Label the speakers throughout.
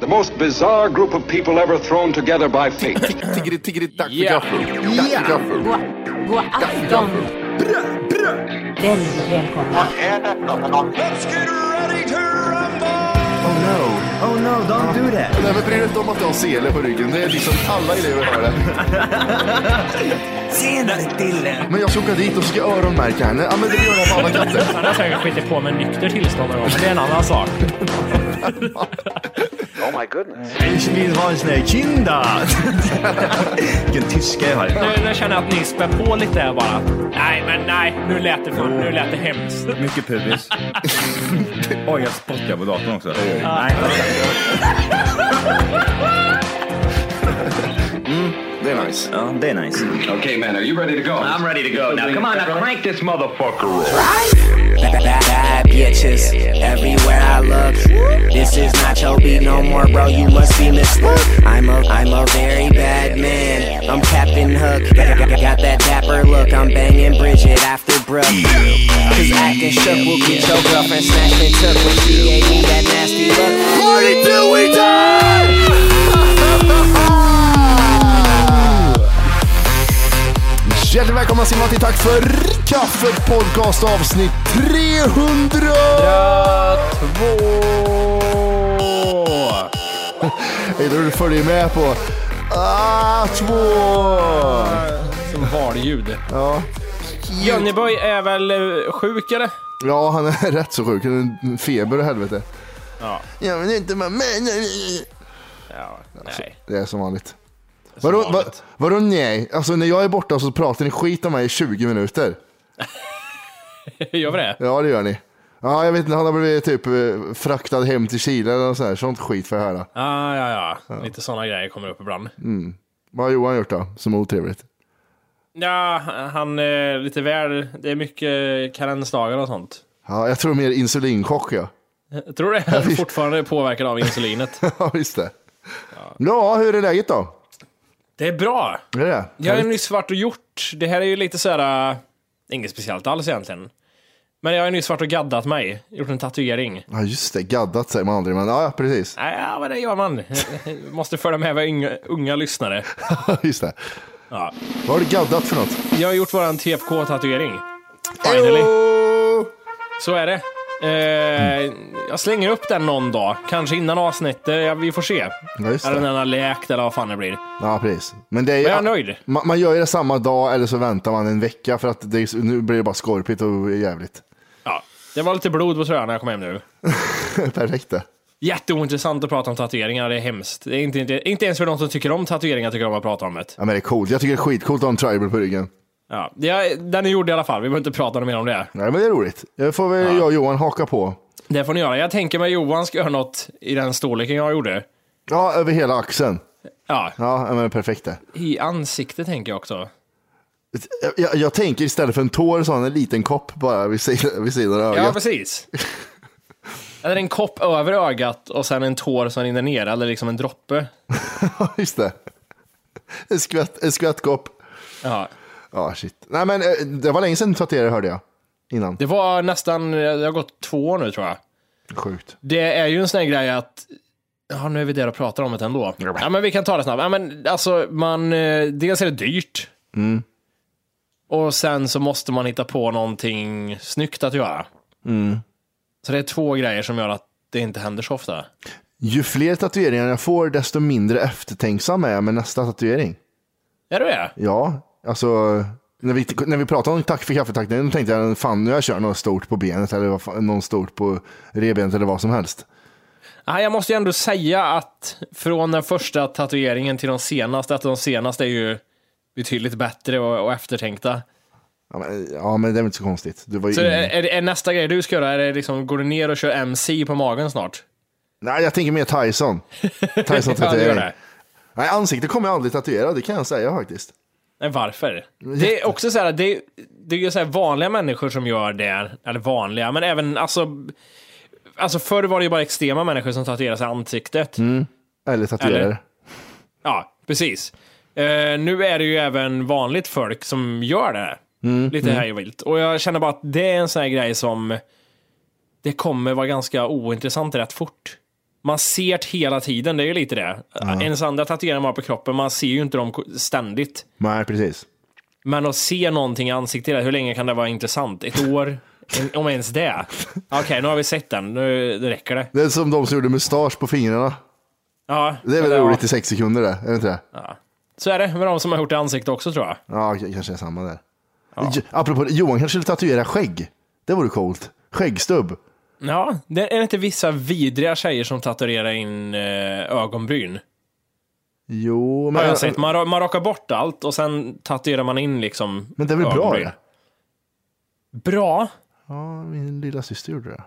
Speaker 1: The most bizarre group of people ever thrown together by fate.
Speaker 2: Tiggeri, tiggeri, dack för gaffel. Dack för gaffel.
Speaker 3: God afton! Väldigt välkomna.
Speaker 2: Oh no.
Speaker 4: Oh no, don't do that!
Speaker 2: Nej men bry dig inte om att jag har sele på ryggen. Det är liksom alla elever har det.
Speaker 4: Senare Dille!
Speaker 2: Men jag ska åka dit och ska öronmärka henne. Ja men det gör jag på alla katter.
Speaker 5: Han har säkert skitit på med nykter tillstånd någon gång, men det är en annan sak.
Speaker 4: Ich vill ha en sån här kinda! Vilken tyska jag har.
Speaker 5: Nu, nu känner jag att ni spär på lite här bara. Nej, men nej. Nu lät det, för, nu lät det hemskt.
Speaker 6: Mycket pubis. Oj, jag spottar på datorn också. Nej,
Speaker 2: Det är nice.
Speaker 6: ja, det är nice.
Speaker 1: okay, man, are you ready to go? I'm ready to go. Now, come on, now crank this motherfucker up.
Speaker 3: Bad, bad bitches everywhere I look. This is not your beat no more, bro. You must be mistook. I'm a, I'm a very bad man. I'm tapping hook. Got, got- got that dapper look. I'm banging Bridget after Brooke. Cause acting shook will get your girlfriend snatched and took when she gave me that nasty look.
Speaker 2: Party till we die! Hjärtligt välkomna ska ni vara till Tack för kaffet podcast avsnitt 300! Hej då du följer med på ah, två!
Speaker 5: Som valljud. Ja. Johnnyboy är väl eh, sjuk eller?
Speaker 2: Ja, han är rätt så sjuk. Han är en feber och helvete.
Speaker 5: Ja.
Speaker 2: Jag vill inte vara med.
Speaker 5: ja nej.
Speaker 2: Det är som vanligt. Vadå, va, vadå nej? Alltså när jag är borta så pratar ni skit om mig i 20 minuter.
Speaker 5: Gör vi det?
Speaker 2: Ja, det gör ni. Ja, jag vet inte, han har blivit typ eh, fraktad hem till Chile eller något sånt, här. sånt skit får jag höra.
Speaker 5: Ah, ja, ja. Lite sådana grejer kommer upp ibland.
Speaker 2: Vad har Johan gjort då, som är otrevligt?
Speaker 5: Ja, han är lite väl... Det är mycket karensdagar och sånt.
Speaker 2: Ja, jag tror mer insulinchock ja.
Speaker 5: Jag tror det. Han är fortfarande påverkad av insulinet.
Speaker 2: Ja, visst det. Ja, hur är läget då?
Speaker 5: Det är bra.
Speaker 2: Är det det?
Speaker 5: Jag har ju nyss varit och gjort. Det här är ju lite såhär... äh, Inget speciellt alls egentligen. Men jag har ju nyss varit och gaddat mig. Gjort en tatuering.
Speaker 2: Ja, just det. Gaddat säger man aldrig, men ja, precis.
Speaker 5: Nej, ja, men det gör man. Måste följa med våra unga, unga lyssnare.
Speaker 2: just det.
Speaker 5: Ja.
Speaker 2: Vad har du gaddat för något?
Speaker 5: Jag har gjort våran TFK-tatuering. Finally.
Speaker 2: Ejo!
Speaker 5: Så är det. Eh, jag slänger upp den någon dag. Kanske innan avsnittet. Ja, vi får se.
Speaker 2: Ja, just
Speaker 5: Eller
Speaker 2: det.
Speaker 5: när den har läkt eller vad fan det blir.
Speaker 2: Ja, precis. Men det är ju,
Speaker 5: Men jag är nöjd.
Speaker 2: Man, man gör ju det samma dag eller så väntar man en vecka för att det, är- nu blir det bara skorpigt och jävligt.
Speaker 5: Ja. Det var lite blod på tröjan när jag kom hem nu.
Speaker 2: Perfekt det.
Speaker 5: Jätteointressant att prata om tatueringar, det är hemskt. Det är inte, inte, inte ens för de som tycker om tatueringar tycker om att prata om det.
Speaker 2: Ja, men det är coolt. Jag tycker det är skitcoolt att ha en tribal på ryggen.
Speaker 5: Ja, det är, den är gjord i alla fall, vi behöver inte prata mer om det.
Speaker 2: Nej, men det är roligt. Det får väl jag och Johan haka på.
Speaker 5: Det får ni göra. Jag tänker mig Johan ska göra något i den storleken jag gjorde.
Speaker 2: Ja, över hela axeln.
Speaker 5: Ja,
Speaker 2: Ja, ja, men perfekt det.
Speaker 5: i ansiktet tänker jag också.
Speaker 2: Jag, jag, jag tänker istället för en tår så har han en liten kopp bara vid sidan, vid sidan av
Speaker 5: Ja,
Speaker 2: ögat.
Speaker 5: precis. Eller en kopp över ögat och sen en tår som rinner ner, eller liksom en droppe.
Speaker 2: Ja, just det. En, skvätt, en skvättkopp.
Speaker 5: Ja.
Speaker 2: Ja, shit. Nej, men eh, det var länge sedan du tatuerade hörde jag. Innan.
Speaker 5: Det var nästan, det har gått två år nu tror jag.
Speaker 2: Sjukt.
Speaker 5: Det är ju en sån här grej att Ja, nu är vi där och pratar om det ändå. Ja, men vi kan ta det snabbt. Ja, men alltså, man, eh, dels är det dyrt.
Speaker 2: Mm.
Speaker 5: Och sen så måste man hitta på någonting snyggt att göra.
Speaker 2: Mm.
Speaker 5: Så det är två grejer som gör att det inte händer så ofta.
Speaker 2: Ju fler tatueringar jag får, desto mindre eftertänksam är jag med nästa tatuering.
Speaker 5: Är du det?
Speaker 2: Ja, alltså när vi, när vi pratade om tack för kaffetackningen tänkte jag fan nu har jag kört något stort på benet eller vad fan- någon stort på revbenet eller vad som helst.
Speaker 5: Nej, jag måste ju ändå säga att från den första tatueringen till de senaste, att de senaste är ju betydligt bättre och, och eftertänkta.
Speaker 2: Ja men, ja, men det är väl inte så konstigt. Du var ju
Speaker 5: Så
Speaker 2: yngre.
Speaker 5: är, är, är nästa grej du ska göra, är det liksom, går du ner och kör MC på magen snart?
Speaker 2: Nej, jag tänker mer Tyson. Tyson
Speaker 5: Ja, du gör
Speaker 2: tatuering.
Speaker 5: det.
Speaker 2: Nej, ansikte kommer jag aldrig tatuera, det kan jag säga faktiskt.
Speaker 5: Nej, varför? Det är också så här, det, det är ju så här vanliga människor som gör det, eller vanliga, men även alltså, alltså förr var det ju bara extrema människor som tatuerade sig i ansiktet.
Speaker 2: Mm. Eller tatuerare.
Speaker 5: Eller? Ja, precis. Eh, nu är det ju även vanligt folk som gör det.
Speaker 2: Mm,
Speaker 5: Lite
Speaker 2: mm.
Speaker 5: här och vilt. Och jag känner bara att det är en sån här grej som det kommer vara ganska ointressant rätt fort. Man ser det hela tiden, det är ju lite det.
Speaker 2: Ja.
Speaker 5: Ens andra tatueringar man har på kroppen, man ser ju inte dem ko- ständigt.
Speaker 2: Nej, precis.
Speaker 5: Men att se någonting i ansiktet, hur länge kan det vara intressant? Ett år? En- Om ens det? Okej, nu har vi sett den. Nu det räcker det.
Speaker 2: Det är som de som gjorde mustasch på fingrarna.
Speaker 5: Ja,
Speaker 2: Det är väl
Speaker 5: eller
Speaker 2: roligt i sex sekunder det, är det inte det?
Speaker 5: Ja. Så är det med de som har gjort det i ansiktet också tror jag.
Speaker 2: Ja, k- kanske är samma där. J- Apropå det, Johan kanske skulle tatuera skägg. Det vore coolt. Skäggstubb.
Speaker 5: Ja, det är det inte vissa vidriga tjejer som tatuerar in eh, ögonbryn?
Speaker 2: Jo,
Speaker 5: Har
Speaker 2: men,
Speaker 5: jag sett. Man, ra- man rakar bort allt och sen tatuerar man in liksom
Speaker 2: men det är väl bra
Speaker 5: ögonbryn.
Speaker 2: det?
Speaker 5: Bra?
Speaker 2: Ja, min lilla syster gjorde det.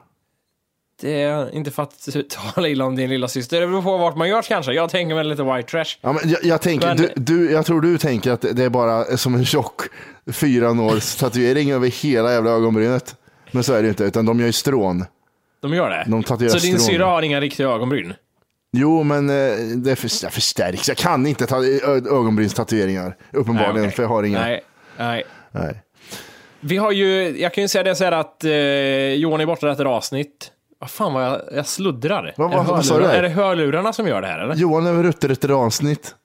Speaker 5: Det är inte för att tala illa om din lilla syster. Det beror på vart man gör det kanske. Jag tänker väl lite white trash.
Speaker 2: Ja, men jag, jag, tänker,
Speaker 5: Men-
Speaker 2: du, du, jag tror du tänker att det det är bara som en tjock fyranåls tatuering över hela jävla ögonbrynet. Men så är det ju inte, utan de gör ju strån.
Speaker 5: De gör det?
Speaker 2: De tatuerar
Speaker 5: Så din
Speaker 2: strån.
Speaker 5: syra har inga riktiga ögonbryn?
Speaker 2: Jo, men eh, det för, jag förstärks. Jag kan inte ta ö- ögonbrynstatueringar, uppenbarligen,
Speaker 5: Nej, okej.
Speaker 2: för jag har inga.
Speaker 5: Nej, nej.
Speaker 2: Nej.
Speaker 5: Vi har ju, jag kan ju säga det så här att eh, Johan är borta det här avsnitt. Vad fan vad jag, jag sluddrar.
Speaker 2: Vad-
Speaker 5: är, det
Speaker 2: vad- vad sa
Speaker 5: hörlurar-
Speaker 2: du där?
Speaker 5: är det hörlurarna som gör det här eller?
Speaker 2: Johan över rutter ett avsnitt.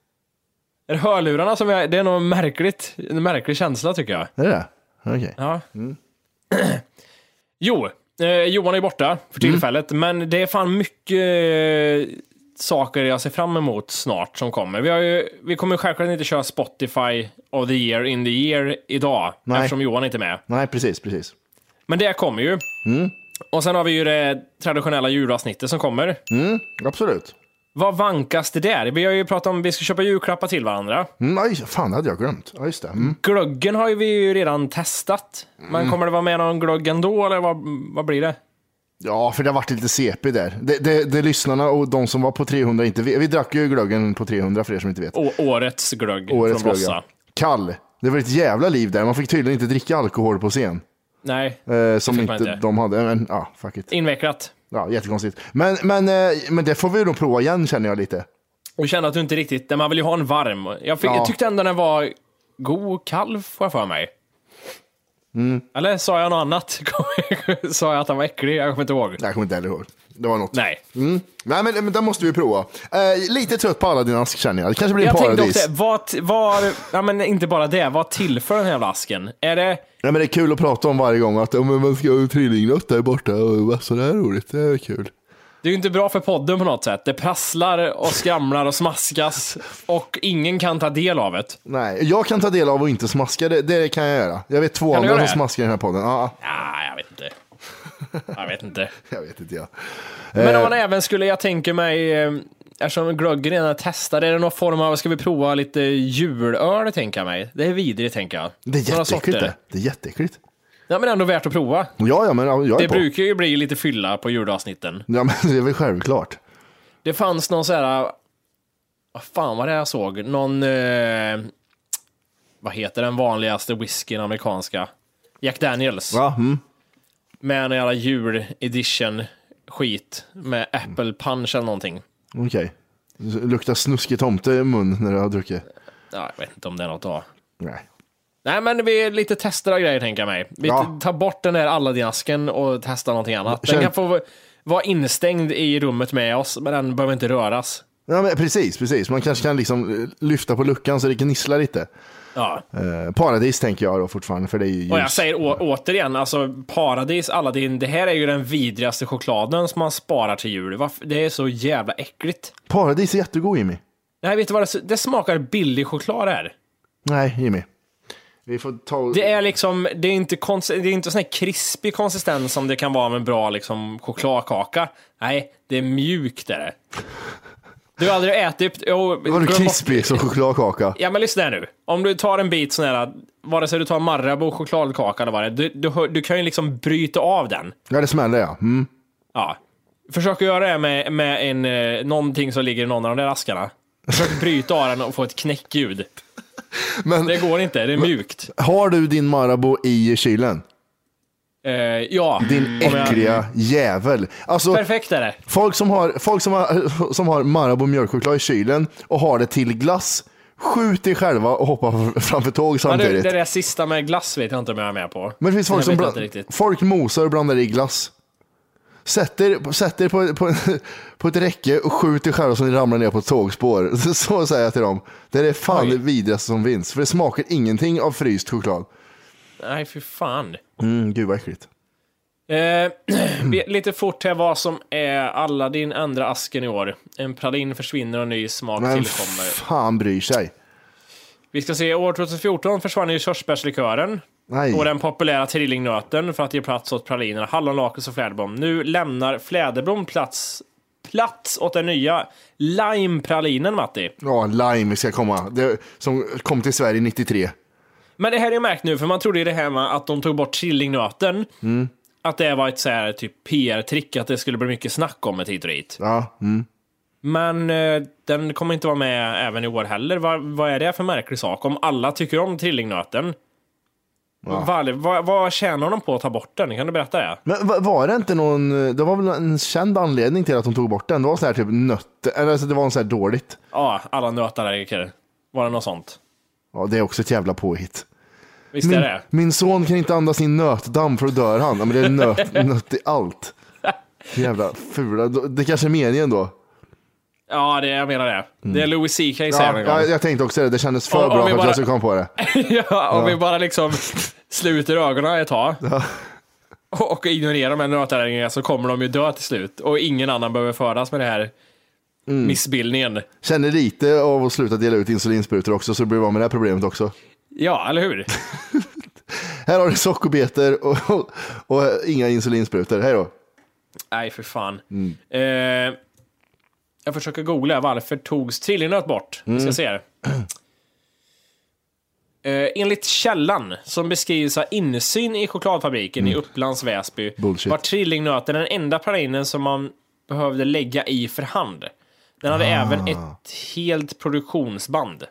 Speaker 5: Är det hörlurarna som gör det? är nog märkligt, en märklig känsla tycker jag.
Speaker 2: Är det det Okej.
Speaker 5: Ja.
Speaker 2: Mm.
Speaker 5: jo, eh, Johan är borta för
Speaker 2: Mm.
Speaker 5: tillfället, men det är fan mycket eh, saker jag ser fram emot snart som kommer. Vi, har ju, vi kommer självklart inte köra Spotify of the year in the year idag,
Speaker 2: Nej.
Speaker 5: eftersom Johan inte är med.
Speaker 2: Nej, precis, precis.
Speaker 5: Men det kommer ju.
Speaker 2: Mm.
Speaker 5: Och sen har vi ju det traditionella julavsnittet som kommer.
Speaker 2: Mm, absolut.
Speaker 5: Vad vankas det där? Vi har ju pratat om att vi ska köpa julklappar till varandra.
Speaker 2: Mm, aj, fan, det hade jag glömt. Ja, just det. Mm.
Speaker 5: Glöggen har ju vi ju redan testat. Men kommer det vara med någon glögg ändå, eller vad, vad blir det?
Speaker 2: Ja, för det har varit lite CP där. Det, det, det lyssnarna och de som var på 300 inte vet. Vi drack ju glöggen på 300 för er som inte vet.
Speaker 5: Å- årets glögg
Speaker 2: Årets
Speaker 5: från
Speaker 2: glögg,
Speaker 5: Vossa.
Speaker 2: ja. Kall. Det var ett jävla liv där. Man fick tydligen inte dricka alkohol på scen.
Speaker 5: Nej,
Speaker 2: Eh, som
Speaker 5: fick
Speaker 2: inte,
Speaker 5: man inte.
Speaker 2: de hade. Men ja, fuck it.
Speaker 5: invecklat.
Speaker 2: Ja, jättekonstigt. Men, men, eh, men det får vi nog prova igen känner jag lite.
Speaker 5: Och kände att du inte riktigt... nej, Man vill ju ha en varm. Jag, fick,
Speaker 2: Ja.
Speaker 5: jag tyckte ändå den var god och kall, får jag för mig.
Speaker 2: Mm.
Speaker 5: Eller sa jag något annat? sa jag att den var äcklig? Jag kommer inte ihåg.
Speaker 2: Jag kommer inte heller ihåg. Det var något.
Speaker 5: Nej.
Speaker 2: Mm. Nej, men, men den måste vi prova. Eh, lite trött på alla dina ask känner jag. Det kanske blir en
Speaker 5: Jag tänkte
Speaker 2: paradis.
Speaker 5: också, vad, t- vad, ja men inte bara det, vad tillför den här flasken? Är det,
Speaker 2: Nej, men det är kul att prata om varje gång. Att ja, men man ska ha en trillingnöt där borta. Och, alltså, det här är roligt. Det är kul.
Speaker 5: det är ju inte bra för podden på något sätt. Det prasslar och skramlar och smaskas och ingen kan ta del av det.
Speaker 2: Nej, jag kan ta del av och inte smaska. Det, det kan jag göra. Jag vet två
Speaker 5: Kan
Speaker 2: andra
Speaker 5: du göra
Speaker 2: som
Speaker 5: det?
Speaker 2: smaskar i den här podden. Ja,
Speaker 5: Ja, jag vet inte. Jag vet inte.
Speaker 2: jag vet inte jag.
Speaker 5: Men om
Speaker 2: Eh.
Speaker 5: man även skulle, jag tänker mig, eh, eftersom glöggen redan är testad, är det någon form av, ska vi prova lite julöl tänker jag mig? Det är vidrigt tänker jag.
Speaker 2: Det är
Speaker 5: Några
Speaker 2: jätteäckligt
Speaker 5: sorter.
Speaker 2: det. Det är jätteäckligt.
Speaker 5: Ja men ändå värt att prova.
Speaker 2: Ja, ja, men ja, jag är
Speaker 5: Det
Speaker 2: på.
Speaker 5: brukar ju bli lite fylla på julavsnitten.
Speaker 2: Ja, men det är väl självklart.
Speaker 5: Det fanns någon så här... Vad fan var det jag såg? Någon... Eh, vad heter den vanligaste whiskyn amerikanska? Jack Daniels.
Speaker 2: Ja, mm.
Speaker 5: Med en jävla jul-edition skit med apple punch eller någonting.
Speaker 2: Okej. Luktar snuskig tomte i mun när du har druckit.
Speaker 5: Ja, jag vet inte om det är något att ha.
Speaker 2: Nej.
Speaker 5: Nej, men vi är lite tester av grejer tänker jag mig. Vi
Speaker 2: Ja.
Speaker 5: tar bort den där Aladdin-asken och testar någonting annat. Den
Speaker 2: Känn-
Speaker 5: kan få var instängd i rummet med oss, men den behöver inte röras.
Speaker 2: Ja, men precis, precis. Man kanske kan liksom eh, lyfta på luckan så det gnisslar lite.
Speaker 5: Ja.
Speaker 2: Eh, paradis tänker jag då fortfarande, för det är ju ljus.
Speaker 5: Och jag säger å- återigen, alltså Paradis Aladdin, det här är ju den vidrigaste chokladen som man sparar till jul. Varför? Det är så jävla äckligt.
Speaker 2: Paradis är jättegod Jimmy.
Speaker 5: Nej, vet du vad det, det smakar billig choklad här.
Speaker 2: Nej, Jimmy. Vi får ta...
Speaker 5: Det är liksom, det är inte, kons- det är inte sån här krispig konsistens som det kan vara med en bra liksom, chokladkaka. Nej, det är mjukt är det. Du har aldrig ätit... Jo,
Speaker 2: Var du
Speaker 5: glöm bort-
Speaker 2: krispig som chokladkaka?
Speaker 5: Ja men lyssna här nu. Om du tar en bit sån här, vare sig du tar Marabou chokladkaka eller vad det är, du, du, hör- du kan ju liksom bryta av den.
Speaker 2: Ja, det smäller ja. Mm.
Speaker 5: Ja. Försök att göra det med, med en, eh, någonting som ligger i någon av de där askarna. Försök bryta av den och få ett knäckljud.
Speaker 2: Men-
Speaker 5: det går inte, det är mjukt.
Speaker 2: Har du din Marabou i kylen?
Speaker 5: Eh, ja.
Speaker 2: Din
Speaker 5: om jag- Mm.
Speaker 2: äckliga jävel. Alltså,
Speaker 5: Perfekt är det.
Speaker 2: folk som har, folk som har, som har Marabou mjölkchoklad i kylen och har det till glass, skjut dig själva och hoppa framför tåg
Speaker 5: Men du,
Speaker 2: samtidigt.
Speaker 5: det
Speaker 2: Men det,
Speaker 5: där sista med glass vet jag inte om jag är med på.
Speaker 2: finns folk
Speaker 5: jag
Speaker 2: som
Speaker 5: vet inte
Speaker 2: bland,
Speaker 5: riktigt.
Speaker 2: folk mosar och blandar i glass. Sätt er, sätt er på, på, på ett räcke och skjut er själva som ni ramlar ner på ett tågspår. Så säger jag till dem. Det är fan det vidrigaste som finns, för det smakar ingenting av fryst choklad.
Speaker 5: Nej, för fan.
Speaker 2: Mm, gud vad äckligt.
Speaker 5: Eh, vi- lite fort här vad som är Aladdin andra asken i år. En pralin försvinner och ny smak
Speaker 2: Men
Speaker 5: tillkommer.
Speaker 2: fan bryr sig?
Speaker 5: Vi ska se, år 2014 försvann ju körsbärslikören.
Speaker 2: Nej.
Speaker 5: Och den populära trillingnöten för att ge plats åt pralinerna hallonlakrits och fläderblom. Nu lämnar fläderblom plats, plats åt den nya limepralinen, Matti.
Speaker 2: Ja, lime ska komma. Det, som kom till Sverige 93.
Speaker 5: Men det här är jag märkt nu, för man trodde ju det här med att de tog bort trillingnöten, att det var ett så här, typ PR-trick, att det skulle bli mycket snack om det hit och dit.
Speaker 2: Ja, mm.
Speaker 5: Men eh, den kommer inte vara med även i år heller. Vad, vad är det för märklig sak? Om alla tycker om trillingnöten, vad, vad, vad tjänar de på att ta bort den? Kan du berätta det?
Speaker 2: Men va- var det inte någon, det var väl en känd anledning till att de tog bort den? Det var så här typ nötter, eller alltså det var en så här dåligt.
Speaker 5: Ja, alla nötallergiker. Var det något sånt?
Speaker 2: Ja, det är också ett jävla påhitt.
Speaker 5: Visst är
Speaker 2: Min,
Speaker 5: det?
Speaker 2: min son kan inte andas in nötdamm för då dör han. Ja, men det är nöt, nöt i allt. Jävla fula, det kanske är meningen då.
Speaker 5: Ja, det, jag menar det. Det är Louis CK säger
Speaker 2: Ja,
Speaker 5: en gång.
Speaker 2: jag, jag tänkte också det, det kändes för
Speaker 5: Om- om
Speaker 2: bra
Speaker 5: vi
Speaker 2: för att
Speaker 5: bara-
Speaker 2: jag skulle komma på det.
Speaker 5: ja, om vi bara liksom sluter ögonen ett tag och och ignorerar de här nötallergikerna så kommer de ju dö till slut och ingen annan behöver födas med det här missbildningen.
Speaker 2: Känner lite av att sluta dela ut insulinsprutor också, så blir vi av med det här problemet också.
Speaker 5: Ja, eller hur?
Speaker 2: Här har du sockerbetor och, och, och inga insulinsprutor. Hej då.
Speaker 5: Nej, för fan. Eh, jag försöker googla varför togs trillingnöt bort. Vi ska se här. Eh, enligt källan som beskrivs av insyn i chokladfabriken i Upplands Väsby
Speaker 2: Bullshit.
Speaker 5: var trillingnöten den enda pralinen som man behövde lägga i för hand. Den hade även ett helt produktionsband.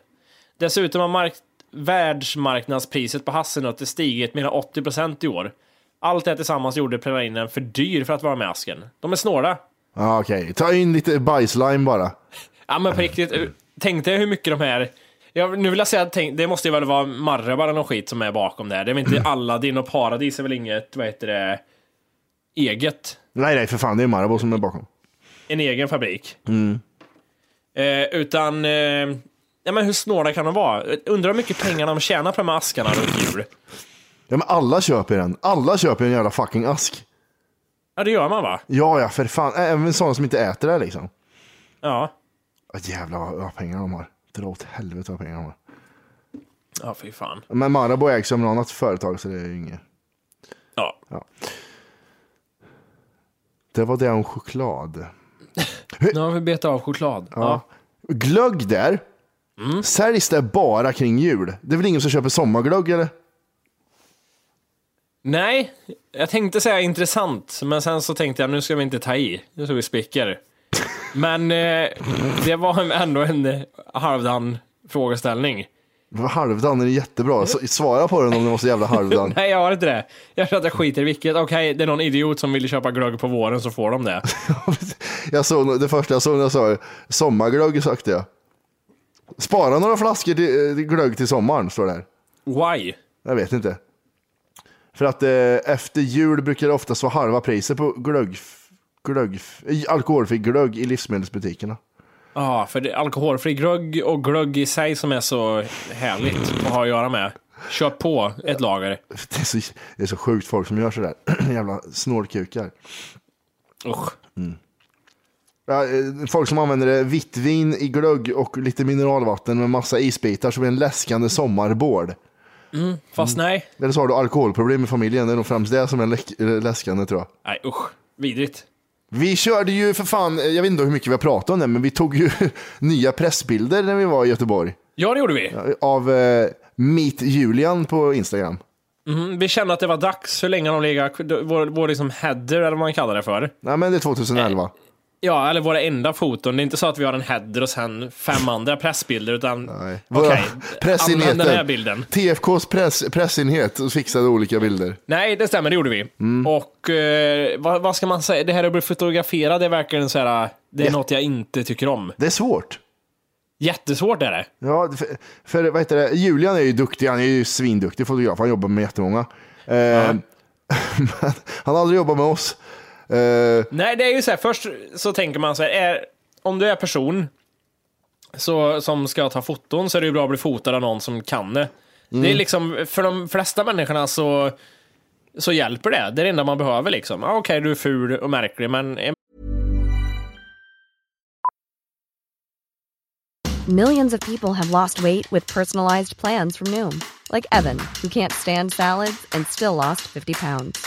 Speaker 5: Dessutom har mark- världsmarknadspriset på hasselnötter stigit med hela 80% i år. Allt det här tillsammans gjorde pralinen för dyr för att vara med i asken. De är snåla.
Speaker 2: Ja, Okej, ta in lite bajslime bara.
Speaker 5: Ja men på riktigt, tänk dig hur mycket de här... Ja, nu vill jag säga att tänk, det måste ju väl vara Marabou eller någon skit som är bakom det här. Det är väl inte Aladdin och Paradis är väl inget, vad heter det, eget.
Speaker 2: Nej, nej, för fan, det är Marabou som är bakom.
Speaker 5: En egen fabrik. Eh, utan, eh, ja men hur snåla kan de vara? Undrar hur mycket pengar de tjänar på de här askarna runt jul.
Speaker 2: Ja, men alla köper den. Alla köper en jävla fucking ask.
Speaker 5: Ja det gör man va?
Speaker 2: Ja, ja, för fan. Även sådana som inte äter det liksom.
Speaker 5: Ja.
Speaker 2: Ja, jävlar vad, vad pengar de har. Dra åt helvete vad pengar de har.
Speaker 5: Ja fy fan.
Speaker 2: Men Marabou ägs av något annat företag, så det är ju inget.
Speaker 5: Ja.
Speaker 2: Det var det om choklad.
Speaker 5: Nu har vi betat av choklad. Ja. Mm.
Speaker 2: Glögg där. Säljs det bara kring jul? Det är väl ingen som köper sommarglögg eller?
Speaker 5: Nej, jag tänkte säga intressant, men sen så tänkte jag nu ska vi inte ta i. Nu tog vi spickar. Men eh, det var ändå en eh, halvdan frågeställning.
Speaker 2: Halvdan är jättebra. Så- Svara på den om du var så jävla halvdan.
Speaker 5: Nej, jag har inte det. Jag tror att jag skiter i vilket. Okej, det är någon idiot som vill köpa glögg på våren så får de det.
Speaker 2: Jag såg, det första jag såg när jag sa sommarglögg sökte jag. Spara några flaskor till, eh, till glögg till sommaren, står det här.
Speaker 5: Why?
Speaker 2: Jag vet inte. För att eh, efter jul brukar det oftast vara halva priset på glögg, glögg, i alkoholfri glögg i livsmedelsbutikerna.
Speaker 5: Ja, för det är alkoholfri glögg och glögg i sig som är så härligt att ha att göra med. Kör på ett lager.
Speaker 2: Det är så, det är så sjukt folk som gör sådär. Jävla snålkukar.
Speaker 5: Usch.
Speaker 2: Ja, eh, Folk som använder det vitt vin i glögg och lite mineralvatten med massa isbitar som en läskande sommarbård.
Speaker 5: Fast nej.
Speaker 2: Eller så har du alkoholproblem i familjen, det är nog främst det som är läck- eh, läskande tror jag.
Speaker 5: Nej, usch. Vidrigt.
Speaker 2: Vi körde ju för fan, eh, jag vet inte hur mycket vi har pratat om det, men vi tog ju nya pressbilder när vi var i Göteborg.
Speaker 5: Ja, det gjorde vi.
Speaker 2: Ja, Av eh, Meet Julian på Instagram.
Speaker 5: Mhm, vi kände att det var dags. Hur länge har de legat? Vår, vår liksom header, eller vad man kallar det för.
Speaker 2: Nej men det är 2011.
Speaker 5: Ja, eller våra enda foton. Det är inte så att vi har en header och sen fem andra pressbilder, utan okej,
Speaker 2: Våra
Speaker 5: använd den här
Speaker 2: pressenheter.
Speaker 5: bilden.
Speaker 2: TFKs press, pressenhet fixade olika bilder.
Speaker 5: Nej, det stämmer, det gjorde vi. Och eh, vad, vad ska man säga? Det här att bli fotograferad är verkligen så här, det är något jag inte tycker om.
Speaker 2: Det är svårt.
Speaker 5: Jättesvårt är det.
Speaker 2: Ja, för, för vad heter det? Julian är ju duktig, han är ju svinduktig fotograf, han jobbar med jättemånga. Eh, men han har aldrig jobbat med oss. Eh,
Speaker 5: Nej, det är ju så här, först så tänker man så här, är, om du är person så, som ska ta foton så är det ju bra att bli fotad av någon som kan det. Det är liksom, för de flesta människorna så, så hjälper det. Det är det enda man behöver liksom. Ah, Okej, du är ful och märklig, men är
Speaker 7: Millions of people have lost weight with personalized plans from Noom, like Evan, who can't stand salads and still lost 50 pounds.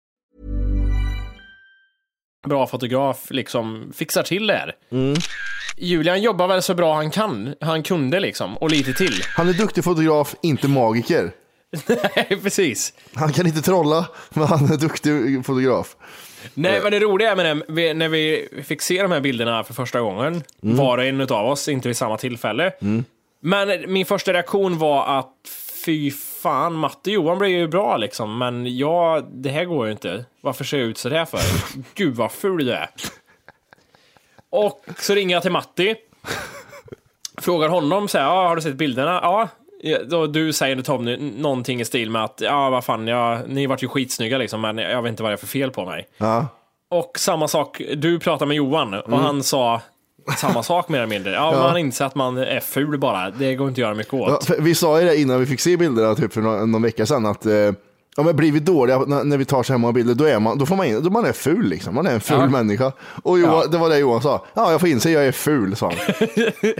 Speaker 5: en bra fotograf liksom fixar till det här. Julian jobbar väl så bra han kan, han kunde liksom, och lite till.
Speaker 2: han är duktig fotograf, inte magiker.
Speaker 5: Precis.
Speaker 2: Han kan inte trolla, men han är duktig fotograf.
Speaker 5: Nej, men det roliga är med det, vi- när vi fick se de här bilderna för första gången, var och en av oss, inte vid samma tillfälle. Men min första reaktion var att fy fan, Matte och Johan blir ju bra liksom, men jag, det här går ju inte. Varför ser jag ut så där för? Gud vad ful du är. Och så ringer jag till Matti, frågar honom så här, ah, har du sett bilderna? Ja. Då du säger till Tommy någonting i stil med att, ja vad fan, jag, ni vart ju skitsnygga liksom, men jag vet inte vad det är för fel på mig.
Speaker 2: Ja.
Speaker 5: Och samma sak, du pratade med Johan och han sa samma sak mer eller mindre. Ja, Man inser att man är ful bara, det går inte att göra mycket åt.
Speaker 2: Ja, för vi sa ju det innan vi fick se bilderna typ för någon, någon vecka sedan att eh, ja, men blir vi dåliga när, när vi tar så här många bilder, då är man, då får man, in, då man är ful liksom. Man är en ful
Speaker 5: Ja.
Speaker 2: människa. Och Johan, det var det Johan sa. Ja, jag får inse jag är ful, sa han.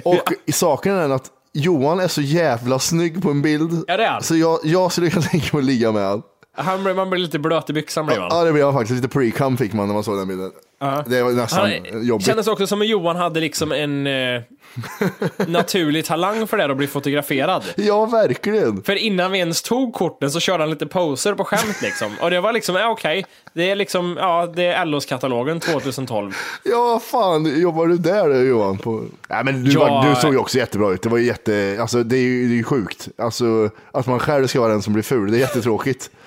Speaker 2: och saken är den att Johan är så jävla snygg på en bild.
Speaker 5: Ja, det är han.
Speaker 2: Så jag, jag skulle kunna tänka mig att ligga med honom.
Speaker 5: Han, blir- man blir lite blöt i byxan blir man.
Speaker 2: Ja, det blev jag faktiskt. Lite pre-cum fick man när man såg den bilden. Det var nästan
Speaker 5: Han
Speaker 2: jobbigt.
Speaker 5: kändes också som att Johan hade liksom en eh, naturlig talang för det här att bli fotograferad.
Speaker 2: Ja, verkligen.
Speaker 5: För innan vi ens tog korten så körde han lite poser på skämt liksom. Och det var liksom, ja okej, det är liksom, ja det är LOs-katalogen 2012.
Speaker 2: Ja, fan, jobbar du där då, Johan? På... Nej, men du,
Speaker 5: Ja.
Speaker 2: var, du såg ju också jättebra ut. Det var ju jätte, alltså det är ju, det är ju sjukt. Alltså att man själv ska vara den som blir ful, det är jättetråkigt.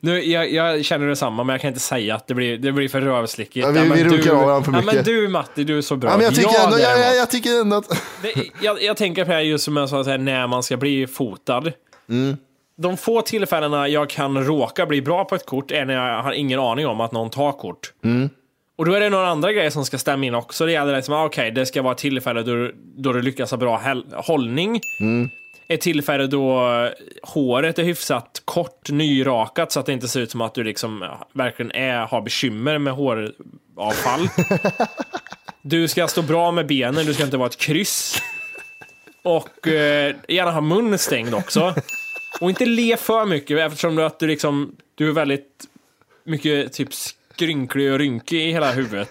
Speaker 5: Nu, jag, jag känner detsamma, men jag kan inte säga att det blir, det blir för rövslickigt.
Speaker 2: Ja, vi- vi
Speaker 5: men
Speaker 2: runkar av varandra för
Speaker 5: ja, men
Speaker 2: mycket.
Speaker 5: du Matti, du är så bra.
Speaker 2: Ja, men jag tycker ändå, jag, jag,
Speaker 5: däremot.
Speaker 2: jag tycker ändå att...
Speaker 5: Det, jag, jag tänker på det här just som jag sa, så här, när man ska bli fotad. De få tillfällena jag kan råka bli bra på ett kort är när jag har ingen aning om att någon tar kort. Och då är det några andra grejer som ska stämma in också. Det gäller liksom, ah, okej, det ska vara ett tillfälle då, du- då du lyckas ha bra häl- hållning. Ett tillfälle då håret är hyfsat kort, nyrakat, så att det inte ser ut som att du liksom verkligen är, har bekymmer med håravfall. du ska stå bra med benen, du ska inte vara ett kryss. Och eh, gärna ha munnen stängd också. Och inte le för mycket eftersom du, att du, liksom, du är väldigt mycket typ skrynklig och rynkig i hela huvudet.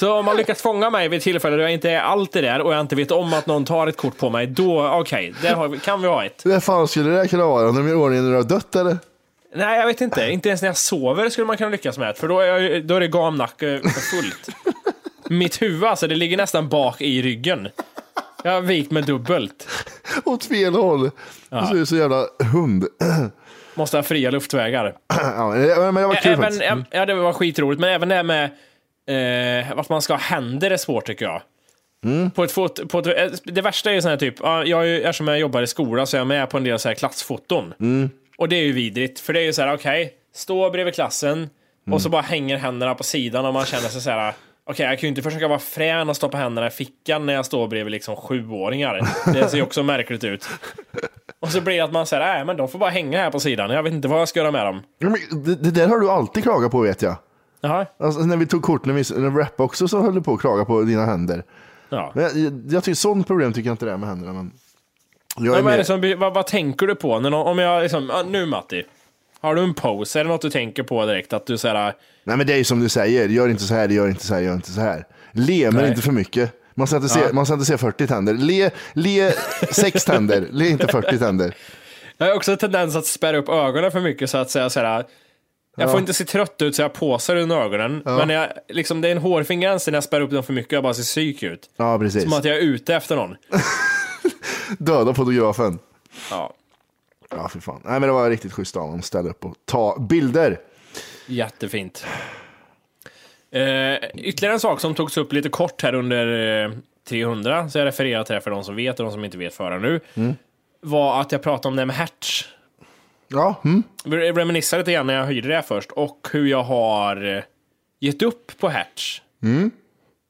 Speaker 5: Så om man lyckas fånga mig vid ett tillfälle då jag inte är allt det där och jag inte vet om att någon tar ett kort på mig, då okej, där har vi, kan vi ha ett.
Speaker 2: Hur fan skulle det där kunna vara? Om de gör i ordning när du har dött eller?
Speaker 5: Nej, jag vet inte. Inte ens när jag sover skulle man kunna lyckas med det, för då är, jag, då är det gamnacke för fullt. Mitt huvud alltså, det ligger nästan bak i ryggen. Jag har vikt mig dubbelt.
Speaker 2: Åt fel håll. Du ser ut som en jävla hund.
Speaker 5: Måste ha fria luftvägar.
Speaker 2: ja, men det men det var kul
Speaker 5: Även,
Speaker 2: faktiskt. Mm.
Speaker 5: Ja, det var skitroligt, men även det här med eh, att man ska ha händer är svårt tycker jag.
Speaker 2: Mm.
Speaker 5: På ett fot, på ett, eh, det värsta är ju sån här typ, ja, jag är ju, eftersom jag jobbar i skolan så är jag med på en del så här klassfoton.
Speaker 2: Mm.
Speaker 5: Och det är ju vidrigt, för det är ju så här: okej, stå bredvid klassen
Speaker 2: Mm.
Speaker 5: och så bara hänger händerna på sidan och man känner sig så här. Okej, jag kan ju inte försöka vara frän och stoppa händerna i fickan när jag står bredvid liksom sjuåringar. Det ser ju också märkligt ut. Och så blir det att man säger, nej men de får bara hänga här på sidan. Jag vet inte vad jag ska göra med dem.
Speaker 2: Ja, men Det, det där har du alltid klagat på vet jag.
Speaker 5: Jaha.
Speaker 2: Alltså, när vi tog kort, när vi när vi rappade också så höll du på att klaga på dina händer.
Speaker 5: Ja.
Speaker 2: Men jag, jag, jag tycker sånt problem tycker jag inte det är med händerna. Men jag
Speaker 5: Men
Speaker 2: är
Speaker 5: vad, är
Speaker 2: mer-
Speaker 5: det som, blir- vad, vad tänker du på? När någon, om jag liksom, ja, nu Matti, har du en pose? Är det något du tänker på direkt? Att du äh, såhär,
Speaker 2: Nej men det är ju som du säger, gör inte så här, gör inte så här, gör inte så här. Le men
Speaker 5: Nej.
Speaker 2: inte för mycket. Man ska inte, se,
Speaker 5: Ja.
Speaker 2: man ska inte se 40 tänder. Le, le 6 tänder, le inte 40 tänder.
Speaker 5: jag har också en tendens att spärra upp ögonen för mycket så att säga såhär, jag
Speaker 2: Ja.
Speaker 5: får inte se trött ut så jag påsar under ögonen.
Speaker 2: Ja.
Speaker 5: Men jag, liksom, det är en hårfin gräns när jag spärrar upp dem för mycket jag bara ser psyk ut.
Speaker 2: Ja precis,
Speaker 5: Som att jag är ute efter någon.
Speaker 2: döda fotografen.
Speaker 5: Ja,
Speaker 2: Ja fy fan. Nej men det var riktigt schysst av honom att ställa upp och ta bilder.
Speaker 5: jättefint. Eh, ytterligare en sak som togs upp lite kort här under eh, 300, så jag refererar till det här för de som vet och de som inte vet förrän nu,
Speaker 2: Mm.
Speaker 5: var att jag pratade om det här med hertz.
Speaker 2: Ja, mm.
Speaker 5: Jag reminissar lite grann när jag hyrde det här först och hur jag har eh, gett upp på hertz.
Speaker 2: Mm.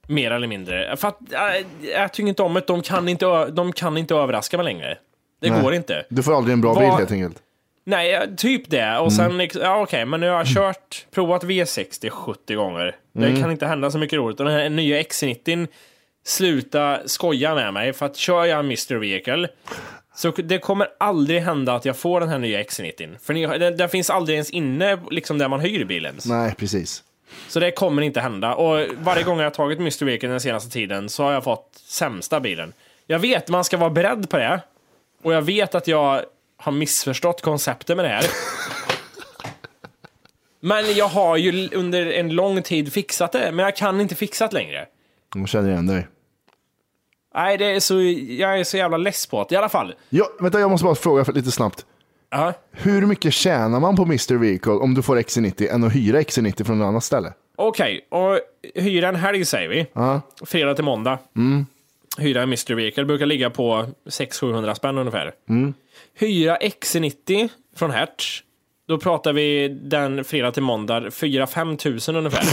Speaker 5: Mer eller mindre. För att, jag, jag tycker inte om det. De kan inte, ö- de kan inte överraska mig längre. Det
Speaker 2: Nej.
Speaker 5: går inte.
Speaker 2: Du får aldrig en bra
Speaker 5: Vad-
Speaker 2: bild helt enkelt.
Speaker 5: Nej, ja, typ det. Och sen, liksom- ja okej, men nu har jag kört, provat V60 70 gånger. Det
Speaker 8: Mm.
Speaker 5: kan inte hända så mycket roligt. Och den här nya XC90, sluta skoja med mig. För att kör jag en Mr. Vehicle, så det kommer aldrig hända att jag får den här nya XC90. För ni- den, den finns aldrig ens inne, liksom där man hyr bilen.
Speaker 2: Nej precis.
Speaker 5: Så det kommer inte hända. Och varje gång jag har tagit Mr. Vehicle den senaste tiden så har jag fått sämsta bilen. Jag vet, man ska vara beredd på det. Och jag vet att jag har missförstått konceptet med det här. Men jag har ju l- under en lång tid fixat det, men jag kan inte fixa det längre.
Speaker 2: Jag känner igen dig.
Speaker 5: Nej, det är så, jag är så jävla less på det i alla fall.
Speaker 2: Ja, vänta jag måste bara fråga för, lite snabbt. Hur mycket tjänar man på Mr. Vehicle om du får XC90 än att hyra XC90 från något annat ställe?
Speaker 5: Okej, och hyra en helg säger vi.
Speaker 2: Ja.
Speaker 5: Fredag till måndag.
Speaker 2: Mm.
Speaker 5: Hyra en Mr. Vehicle brukar ligga på 600-700 spänn ungefär.
Speaker 2: Mm.
Speaker 5: Hyra XC90 från Hertz. Då pratar vi den fredag till måndag 4-5 tusen ungefär.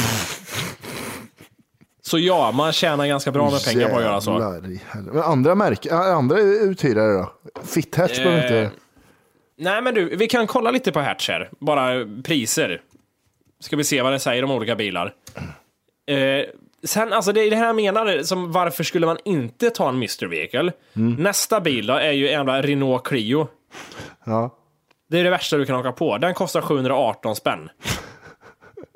Speaker 5: så ja, man tjänar ganska bra med pengar på att göra så.
Speaker 2: Jävlar i helvete. Men andra märken, äh, andra uthyrare då? Fitthatch
Speaker 5: Eh,
Speaker 2: behöver inte...
Speaker 5: Nej men du, vi kan kolla lite på Hertz här. Bara priser. Ska vi se vad det säger om olika bilar. Eh, sen, alltså det är det här jag menar, som varför skulle man inte ta en Mr. Vehicle? Nästa bil då är ju en jävla Renault Clio.
Speaker 2: Ja.
Speaker 5: Det är det värsta du kan åka på. Den kostar 718 spänn.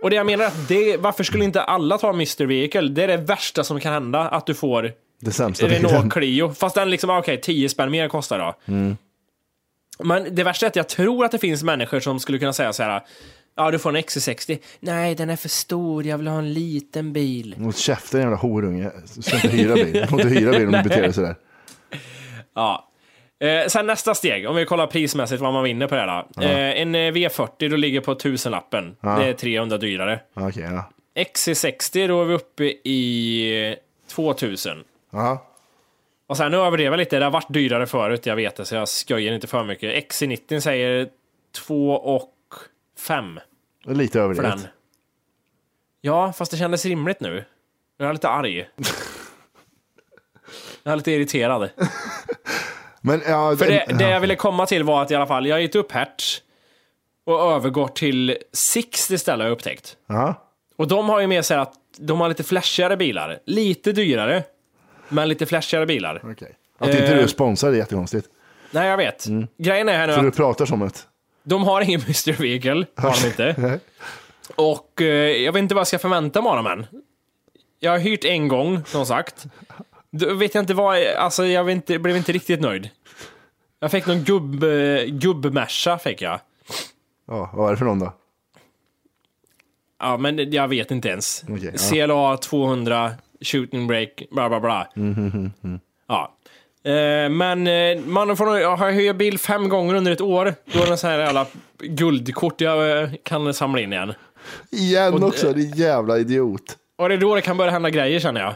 Speaker 5: Och det jag menar är att det, varför skulle inte alla ta en Mr. Vehicle? Det är det värsta som kan hända, att du får
Speaker 2: Det sämsta bilen.
Speaker 5: Renault Clio. Fast den liksom, ah, okej, 10 spänn mer kostar då.
Speaker 2: Mm.
Speaker 5: Men det värsta är att jag tror att det finns människor som skulle kunna säga så här. Ja, du får en XC60. Nej, den är för stor. Jag vill ha en liten bil.
Speaker 2: Mot käften jävla horunge. Du ska inte hyra bil. Du får inte hyra bil om du
Speaker 5: Nej.
Speaker 2: beter dig sådär.
Speaker 5: Ja. Eh, sen nästa steg, om vi kollar prismässigt vad man vinner på det här. då.
Speaker 2: Ja.
Speaker 5: Eh, en eh, V40 då ligger på tusenlappen.
Speaker 2: Ja.
Speaker 5: Det är 300 dyrare.
Speaker 2: Okej, ja.
Speaker 5: XC60 då är vi uppe i eh, 2000.
Speaker 2: Ja.
Speaker 5: Och sen nu överdrev jag lite. Det har varit dyrare förut, jag vet det, så jag skojar inte för mycket. XC90 säger 2 och 5.
Speaker 2: Det är Lite
Speaker 5: för
Speaker 2: överdrivet.
Speaker 5: den. Ja, fast det kändes rimligt nu. Jag är lite arg. Jag är lite irriterad.
Speaker 2: Men ja,
Speaker 5: För det,
Speaker 2: den-
Speaker 5: det
Speaker 2: ja.
Speaker 5: jag ville komma till var att i alla fall, jag har gett upp hertz och övergår till 60 istället har jag upptäckt.
Speaker 2: Ja.
Speaker 5: Och de har ju med sig att de har lite flashigare bilar. Lite dyrare, men lite flashigare bilar.
Speaker 2: Okej. Att inte
Speaker 5: Eh,
Speaker 2: du är sponsrad är jättekonstigt.
Speaker 5: Nej, jag vet. Grejen är här nu
Speaker 2: För du
Speaker 5: att
Speaker 2: pratar som ett...
Speaker 5: de har ingen Mr. Vehicle. Har de inte. Och eh, jag vet inte vad jag ska förvänta mig av dem än. Jag har hyrt en gång, som sagt. Då vet jag inte vad, alltså jag vet inte, blev inte riktigt nöjd. Jag fick någon gubb, eh, gubbmärsa fick jag.
Speaker 2: Ja, vad är det för någon då?
Speaker 5: Ja, men jag vet inte ens.
Speaker 2: Okej, ja.
Speaker 5: CLA 200, shooting break, bla bla bla.
Speaker 2: Mm,
Speaker 5: Ja. Eh, men eh, man får nog, jag har jag hyrt bil fem gånger under ett år, då är det så här alla guldkort jag eh, kan samla in igen.
Speaker 2: Igen
Speaker 5: Och-
Speaker 2: också, din jävla idiot.
Speaker 5: Och det är då det kan börja hända grejer känner jag.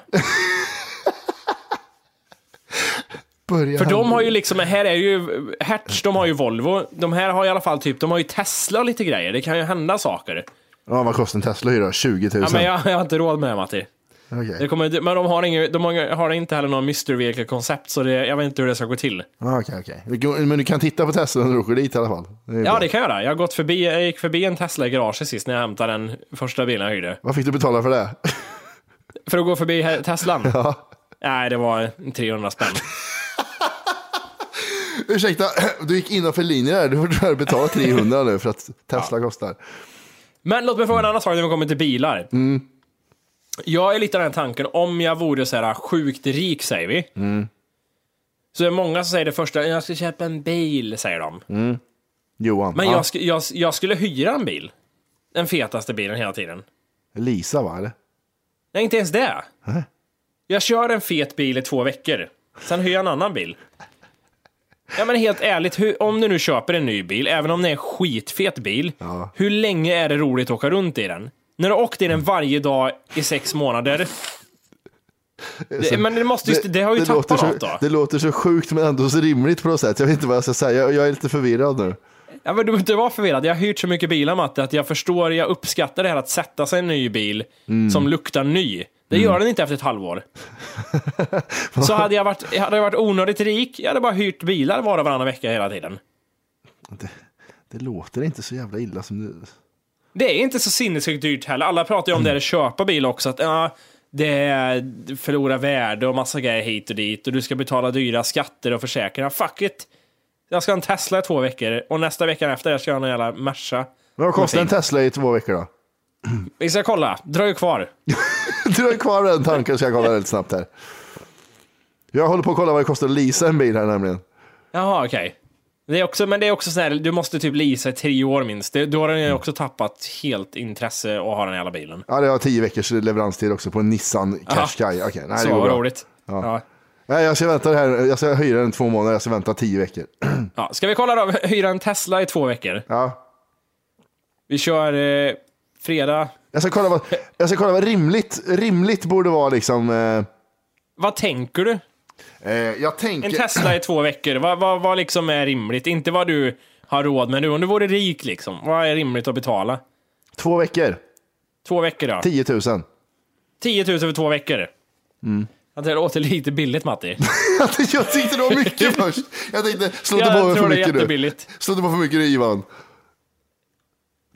Speaker 2: Börja
Speaker 5: För
Speaker 2: här
Speaker 5: de
Speaker 2: nu.
Speaker 5: har ju liksom, här är ju, Hertz, de har ju Volvo, de här har i alla fall typ, de har ju Tesla och lite grejer, det kan ju hända saker.
Speaker 2: Ja, vad kostar en Tesla att hyra? 20 000?
Speaker 5: Ja, men jag, jag har inte råd med det Matti.
Speaker 2: Okej.
Speaker 5: Det kommer, men de har, ingen, de har, har inte heller någon Mr. Vehicle-koncept, så det, jag vet inte hur det ska gå till.
Speaker 2: Ja, Okej, okej. Det går- Men du kan titta på Tesla när du åker dit i alla fall. Det är bra.
Speaker 5: Ja, det kan jag göra. Jag, har gått förbi, jag gick förbi en Tesla i garaget sist när jag hämtade den första bilen jag hyrde.
Speaker 2: Vad fick du betala för det?
Speaker 5: För att gå förbi he- Teslan? Nej, det var 300 spänn.
Speaker 2: Ursäkta, du gick innanför linjen där. Du får tyvärr betala 300 nu för att Tesla kostar.
Speaker 5: Men låt mig fråga en annan sak när vi kommer till bilar. Jag är lite av den tanken, om jag vore så här sjukt rik säger vi, så är det många som säger det första, jag ska köpa en bil, säger de.
Speaker 2: Mm. Johan.
Speaker 5: Men
Speaker 2: Ja.
Speaker 5: jag, sk- jag, jag skulle hyra en bil. Den fetaste bilen hela tiden.
Speaker 2: Lisa va, eller?
Speaker 5: Nej, inte ens det. Jag kör en fet bil i två veckor. Sen hyr jag en annan bil. Ja, men helt ärligt, hur, om du nu köper en ny bil, även om det är en skitfet bil, hur länge är det roligt att åka runt i den? När du har åkt i den varje dag i sex månader, det, men det, måste ju, det, har ju
Speaker 2: låter
Speaker 5: tappat
Speaker 2: så,
Speaker 5: något då.
Speaker 2: Det låter så sjukt men ändå så rimligt på något sätt. Jag vet inte vad jag ska säga. Jag, jag är lite förvirrad nu.
Speaker 5: Ja, men du behöver inte vara förvirrad. Jag har hyrt så mycket bilar, Matte, att jag förstår, jag uppskattar det här att sätta sig i en ny bil
Speaker 2: Mm.
Speaker 5: som luktar ny. Det gör den inte efter ett halvår. så hade jag, varit, hade jag varit onödigt rik, jag hade bara hyrt bilar var och varannan vecka hela tiden.
Speaker 2: Det låter inte så jävla illa som du...
Speaker 5: Det är inte så sinnessjukt dyrt heller. Alla pratar ju om det här att köpa bil också, att ja, det är- förlorar värde och massa grejer hit och dit och du ska betala dyra skatter och försäkringar. Fuck it! Jag ska ha en Tesla i två veckor och nästa vecka efter det ska jag ha en jävla Merca.
Speaker 2: Men vad kostar en Tesla i två veckor då?
Speaker 5: Vi ska kolla, dröj kvar.
Speaker 2: Du är kvar med den tanken så jag kollar väldigt snabbt här. Jag håller på att kolla vad det kostar att leasa en bil här nämligen.
Speaker 5: Jaha, okej. Det är också, men det är också så här, du måste typ leasa i tre år minst. Det, då har
Speaker 2: Mm.
Speaker 5: den ju också tappat helt intresse att ha den jävla bilen.
Speaker 2: Ja, det har tio veckors leveranstid också på en Nissan Qashqai. Okej, nej,
Speaker 5: så
Speaker 2: det går
Speaker 5: vad
Speaker 2: bra.
Speaker 5: roligt. Ja. Ja.
Speaker 2: Nej, jag ska vänta det här. Jag ska hyra den två månader. Jag ska vänta tio veckor.
Speaker 5: Ska vi kolla då, hyra en Tesla i två veckor?
Speaker 2: Ja.
Speaker 5: Vi kör eh, fredag.
Speaker 2: Jag ska kolla vad, jag ska kolla vad rimligt, rimligt borde vara liksom. Eh,
Speaker 5: Vad tänker du?
Speaker 2: jag tänker...
Speaker 5: En Tesla i två veckor, vad, vad, vad liksom är rimligt? Inte vad du har råd med nu, om du vore rik liksom. Vad är rimligt att betala?
Speaker 2: två veckor.
Speaker 5: Två veckor då?
Speaker 2: 10 000.
Speaker 5: 10 000 för två veckor.
Speaker 2: Mm.
Speaker 5: Ja, Det låter lite billigt Matti.
Speaker 2: jag tyckte det var mycket först. Jag tänkte, slå inte
Speaker 5: Jag
Speaker 2: på mig
Speaker 5: tror
Speaker 2: för
Speaker 5: det är
Speaker 2: mycket nu.
Speaker 5: jättebilligt.
Speaker 2: Slå inte på för mycket nu Ivan.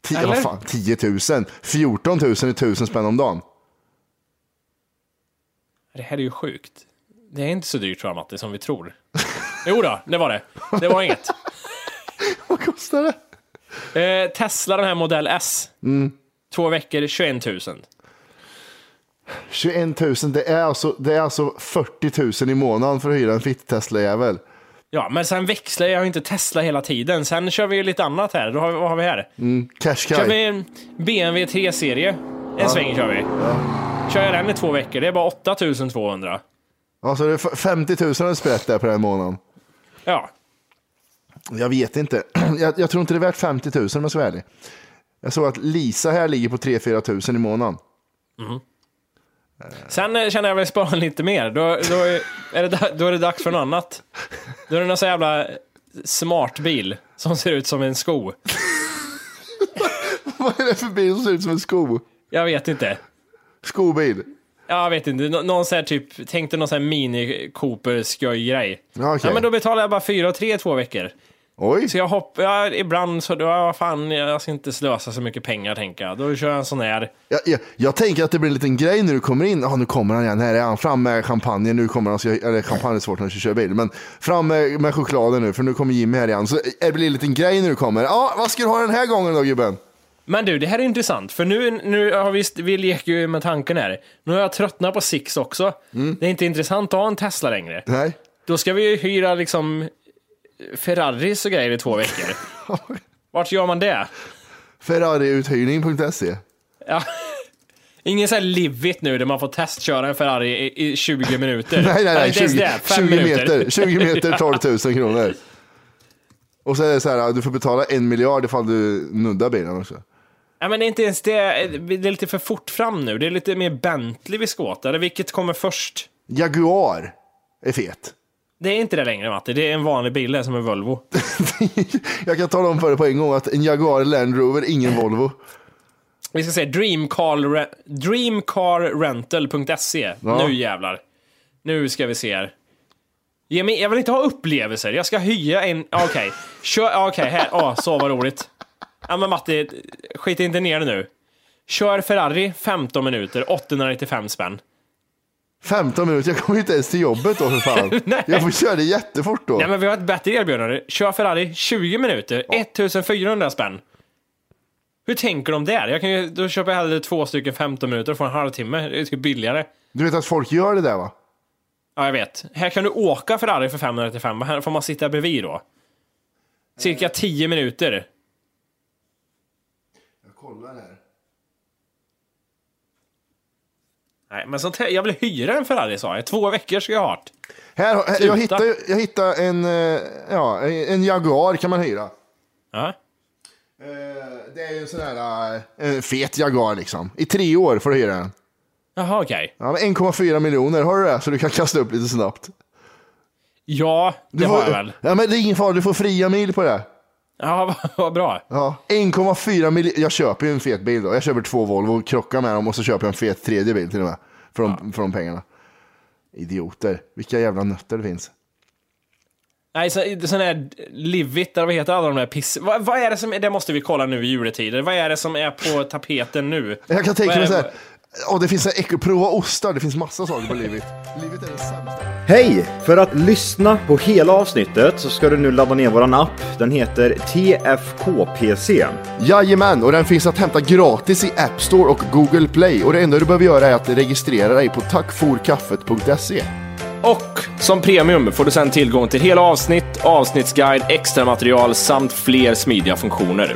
Speaker 2: Ti-
Speaker 5: Eller?
Speaker 2: vad fan, 10 000. 14 000 är 1000 spänn om dagen.
Speaker 5: Det här är ju sjukt. Det är inte så dyrt tror jag Matti, som vi tror. Jo då, det var det. Det var inget.
Speaker 2: Vad kostar det?
Speaker 5: Eh, Tesla, den här modell S. Två veckor, 21 000.
Speaker 2: 21 000, det är alltså, det är alltså 40 000 i månaden för att hyra en fitt Tesla-jävel.
Speaker 5: Ja, men sen växlar jag ju inte Tesla hela tiden. Sen kör vi ju lite annat här. Då har vi, vad har vi här?
Speaker 2: Mm, cash
Speaker 5: Kör
Speaker 2: cow.
Speaker 5: vi en BMW 3-serie. En sväng kör vi. Kör jag den i två veckor, det är bara 8 200.
Speaker 2: Alltså det är f- 50 000 en sprätt där på den här månaden.
Speaker 5: Ja.
Speaker 2: Jag vet inte. Jag, jag tror inte det är värt 50 000 om jag ska vara ärlig. Jag såg att Lisa här ligger på 3-4 000 i månaden.
Speaker 5: Mm. Sen eh, känner jag väl spara lite mer. Då, då, är det, da- då är det dags för något annat. Då är det någon så jävla eh, smart bil som ser ut som en sko.
Speaker 2: Vad är det för bil som ser ut som en sko?
Speaker 5: Jag vet inte.
Speaker 2: Skobil.
Speaker 5: Jag vet inte. Nå- Någon sån här typ, tänkte någon sån här mini Cooper skoj grej.
Speaker 2: Ja, okej.
Speaker 5: Ja, men då betalar jag bara 4 och 3 i två veckor.
Speaker 2: Oj.
Speaker 5: Så jag hoppar, ja, ibland så, då, ja, fan, jag ska inte slösa så mycket pengar tänker jag. Då kör jag en sån här.
Speaker 2: Jag, jag, jag tänker att det blir en liten grej när du kommer in. Ah, nu kommer han igen. Här är han. Fram med champagnen. Nu kommer han. Ska, eller champagne är svårt när du kör bil. Men fram med, med chokladen nu. För nu kommer Jimmy här igen. Så det blir en liten grej när du kommer. Ja, ah, vad ska du ha den här gången då gubben?
Speaker 5: Men du, det här är intressant, för nu, nu har vi, vi leker ju med tanken här. Nu har jag tröttnat på Six också.
Speaker 2: Mm.
Speaker 5: Det är inte intressant att ha en Tesla längre.
Speaker 2: Nej.
Speaker 5: Då ska vi ju hyra liksom Ferraris och grejer i två veckor. Vart gör man det?
Speaker 2: Ferrariuthyrning.se.
Speaker 5: Ja. Ingen sån här livigt nu där man får testköra en Ferrari i, i 20 minuter.
Speaker 2: Nej, nej, nej.
Speaker 5: Inte ens
Speaker 2: 20,
Speaker 5: det, fem
Speaker 2: 20
Speaker 5: minuter.
Speaker 2: meter, 20 meter 12 000 kronor. Och så är det så här, du får betala en miljard ifall du nuddar bilen också.
Speaker 5: Ja, men det är inte ens det. Det är lite för fort fram nu. Det är lite mer Bentley vi ska åt. Eller vilket kommer först?
Speaker 2: Jaguar är fet.
Speaker 5: Det är inte det längre, Matti. Det är en vanlig bil, det är som en Volvo.
Speaker 2: Jag kan tala om för dig på en gång att en Jaguar Land Rover, ingen Volvo.
Speaker 5: Vi ska säga dreamcar, dreamcarrental.se.
Speaker 2: Ja.
Speaker 5: E. Nu jävlar. Nu ska vi se här. Ge mig, jag vill inte ha upplevelser. Jag ska hyra en... ja, Okej, Kör- ja, okej, här. Ja, så vad roligt. Ja, men Matti, skit inte ner det nu. Kör Ferrari 15 minuter, 895 spänn.
Speaker 2: 15 minuter, jag kommer ju inte ens till jobbet då för fan. jag får köra det jättefort då.
Speaker 5: Nej, men vi har ett bättre erbjudande. Kör Ferrari 20 minuter, 1400 spänn. Hur tänker de där? Jag kan ju, då köper jag hellre två stycken 15 minuter och får en halvtimme. Det är typ billigare.
Speaker 2: Du vet att folk gör det där va?
Speaker 5: Ja, jag vet. Här kan du åka Ferrari för 535, men här får man sitta bredvid då. Cirka 10 minuter.
Speaker 2: Jag kollar här.
Speaker 5: Nej, men sånt här, jag vill hyra en Ferrari sa jag. Två veckor ska jag ha det.
Speaker 2: Här, har-
Speaker 5: Sluta.
Speaker 2: jag hittade ju- jag hittade en, eh, ja, en Jaguar kan man hyra.
Speaker 5: Ja.
Speaker 2: Eh, Det är ju en sån här eh, en fet Jaguar liksom. I tre år får du hyra den.
Speaker 5: Jaha, okej.
Speaker 2: Ja, men 1,4 miljoner, har du det? Så du kan kasta upp lite snabbt.
Speaker 5: Ja, det
Speaker 2: Du
Speaker 5: har
Speaker 2: får,
Speaker 5: jag väl.
Speaker 2: Ja, men det är ingen fara, du får fria mil på det.
Speaker 5: Ja, vad, vad bra.
Speaker 2: Ja, 1,4 miljoner. Jag köper ju en fet bil då. Jag köper två Volvo, krockar med dem och så köper jag en fet tredje bil till och med. För de, för de pengarna. Idioter. Vilka jävla nötter det finns.
Speaker 5: Nej, så, sån här Livit, eller vad heter alla de där piss... Vad, vad är det som är, det måste vi kolla nu i juletider. Vad är det som är på tapeten nu?
Speaker 2: Jag kan tänka
Speaker 5: Vad är
Speaker 2: mig så
Speaker 5: det-
Speaker 2: här. åh, det finns så här, ek- prova ostar, det finns massa saker på livet. Livet är det sämsta.
Speaker 4: Hej! För att lyssna på hela avsnittet så ska du nu ladda ner våran app. Den heter TFKPC.
Speaker 2: Jajamän, och den finns att hämta gratis i App Store och Google Play. Och det enda du behöver göra är att registrera dig på tackforkaffet.se.
Speaker 5: Och som premium får du sen tillgång till hela avsnitt, avsnittsguide, extra material samt fler smidiga funktioner.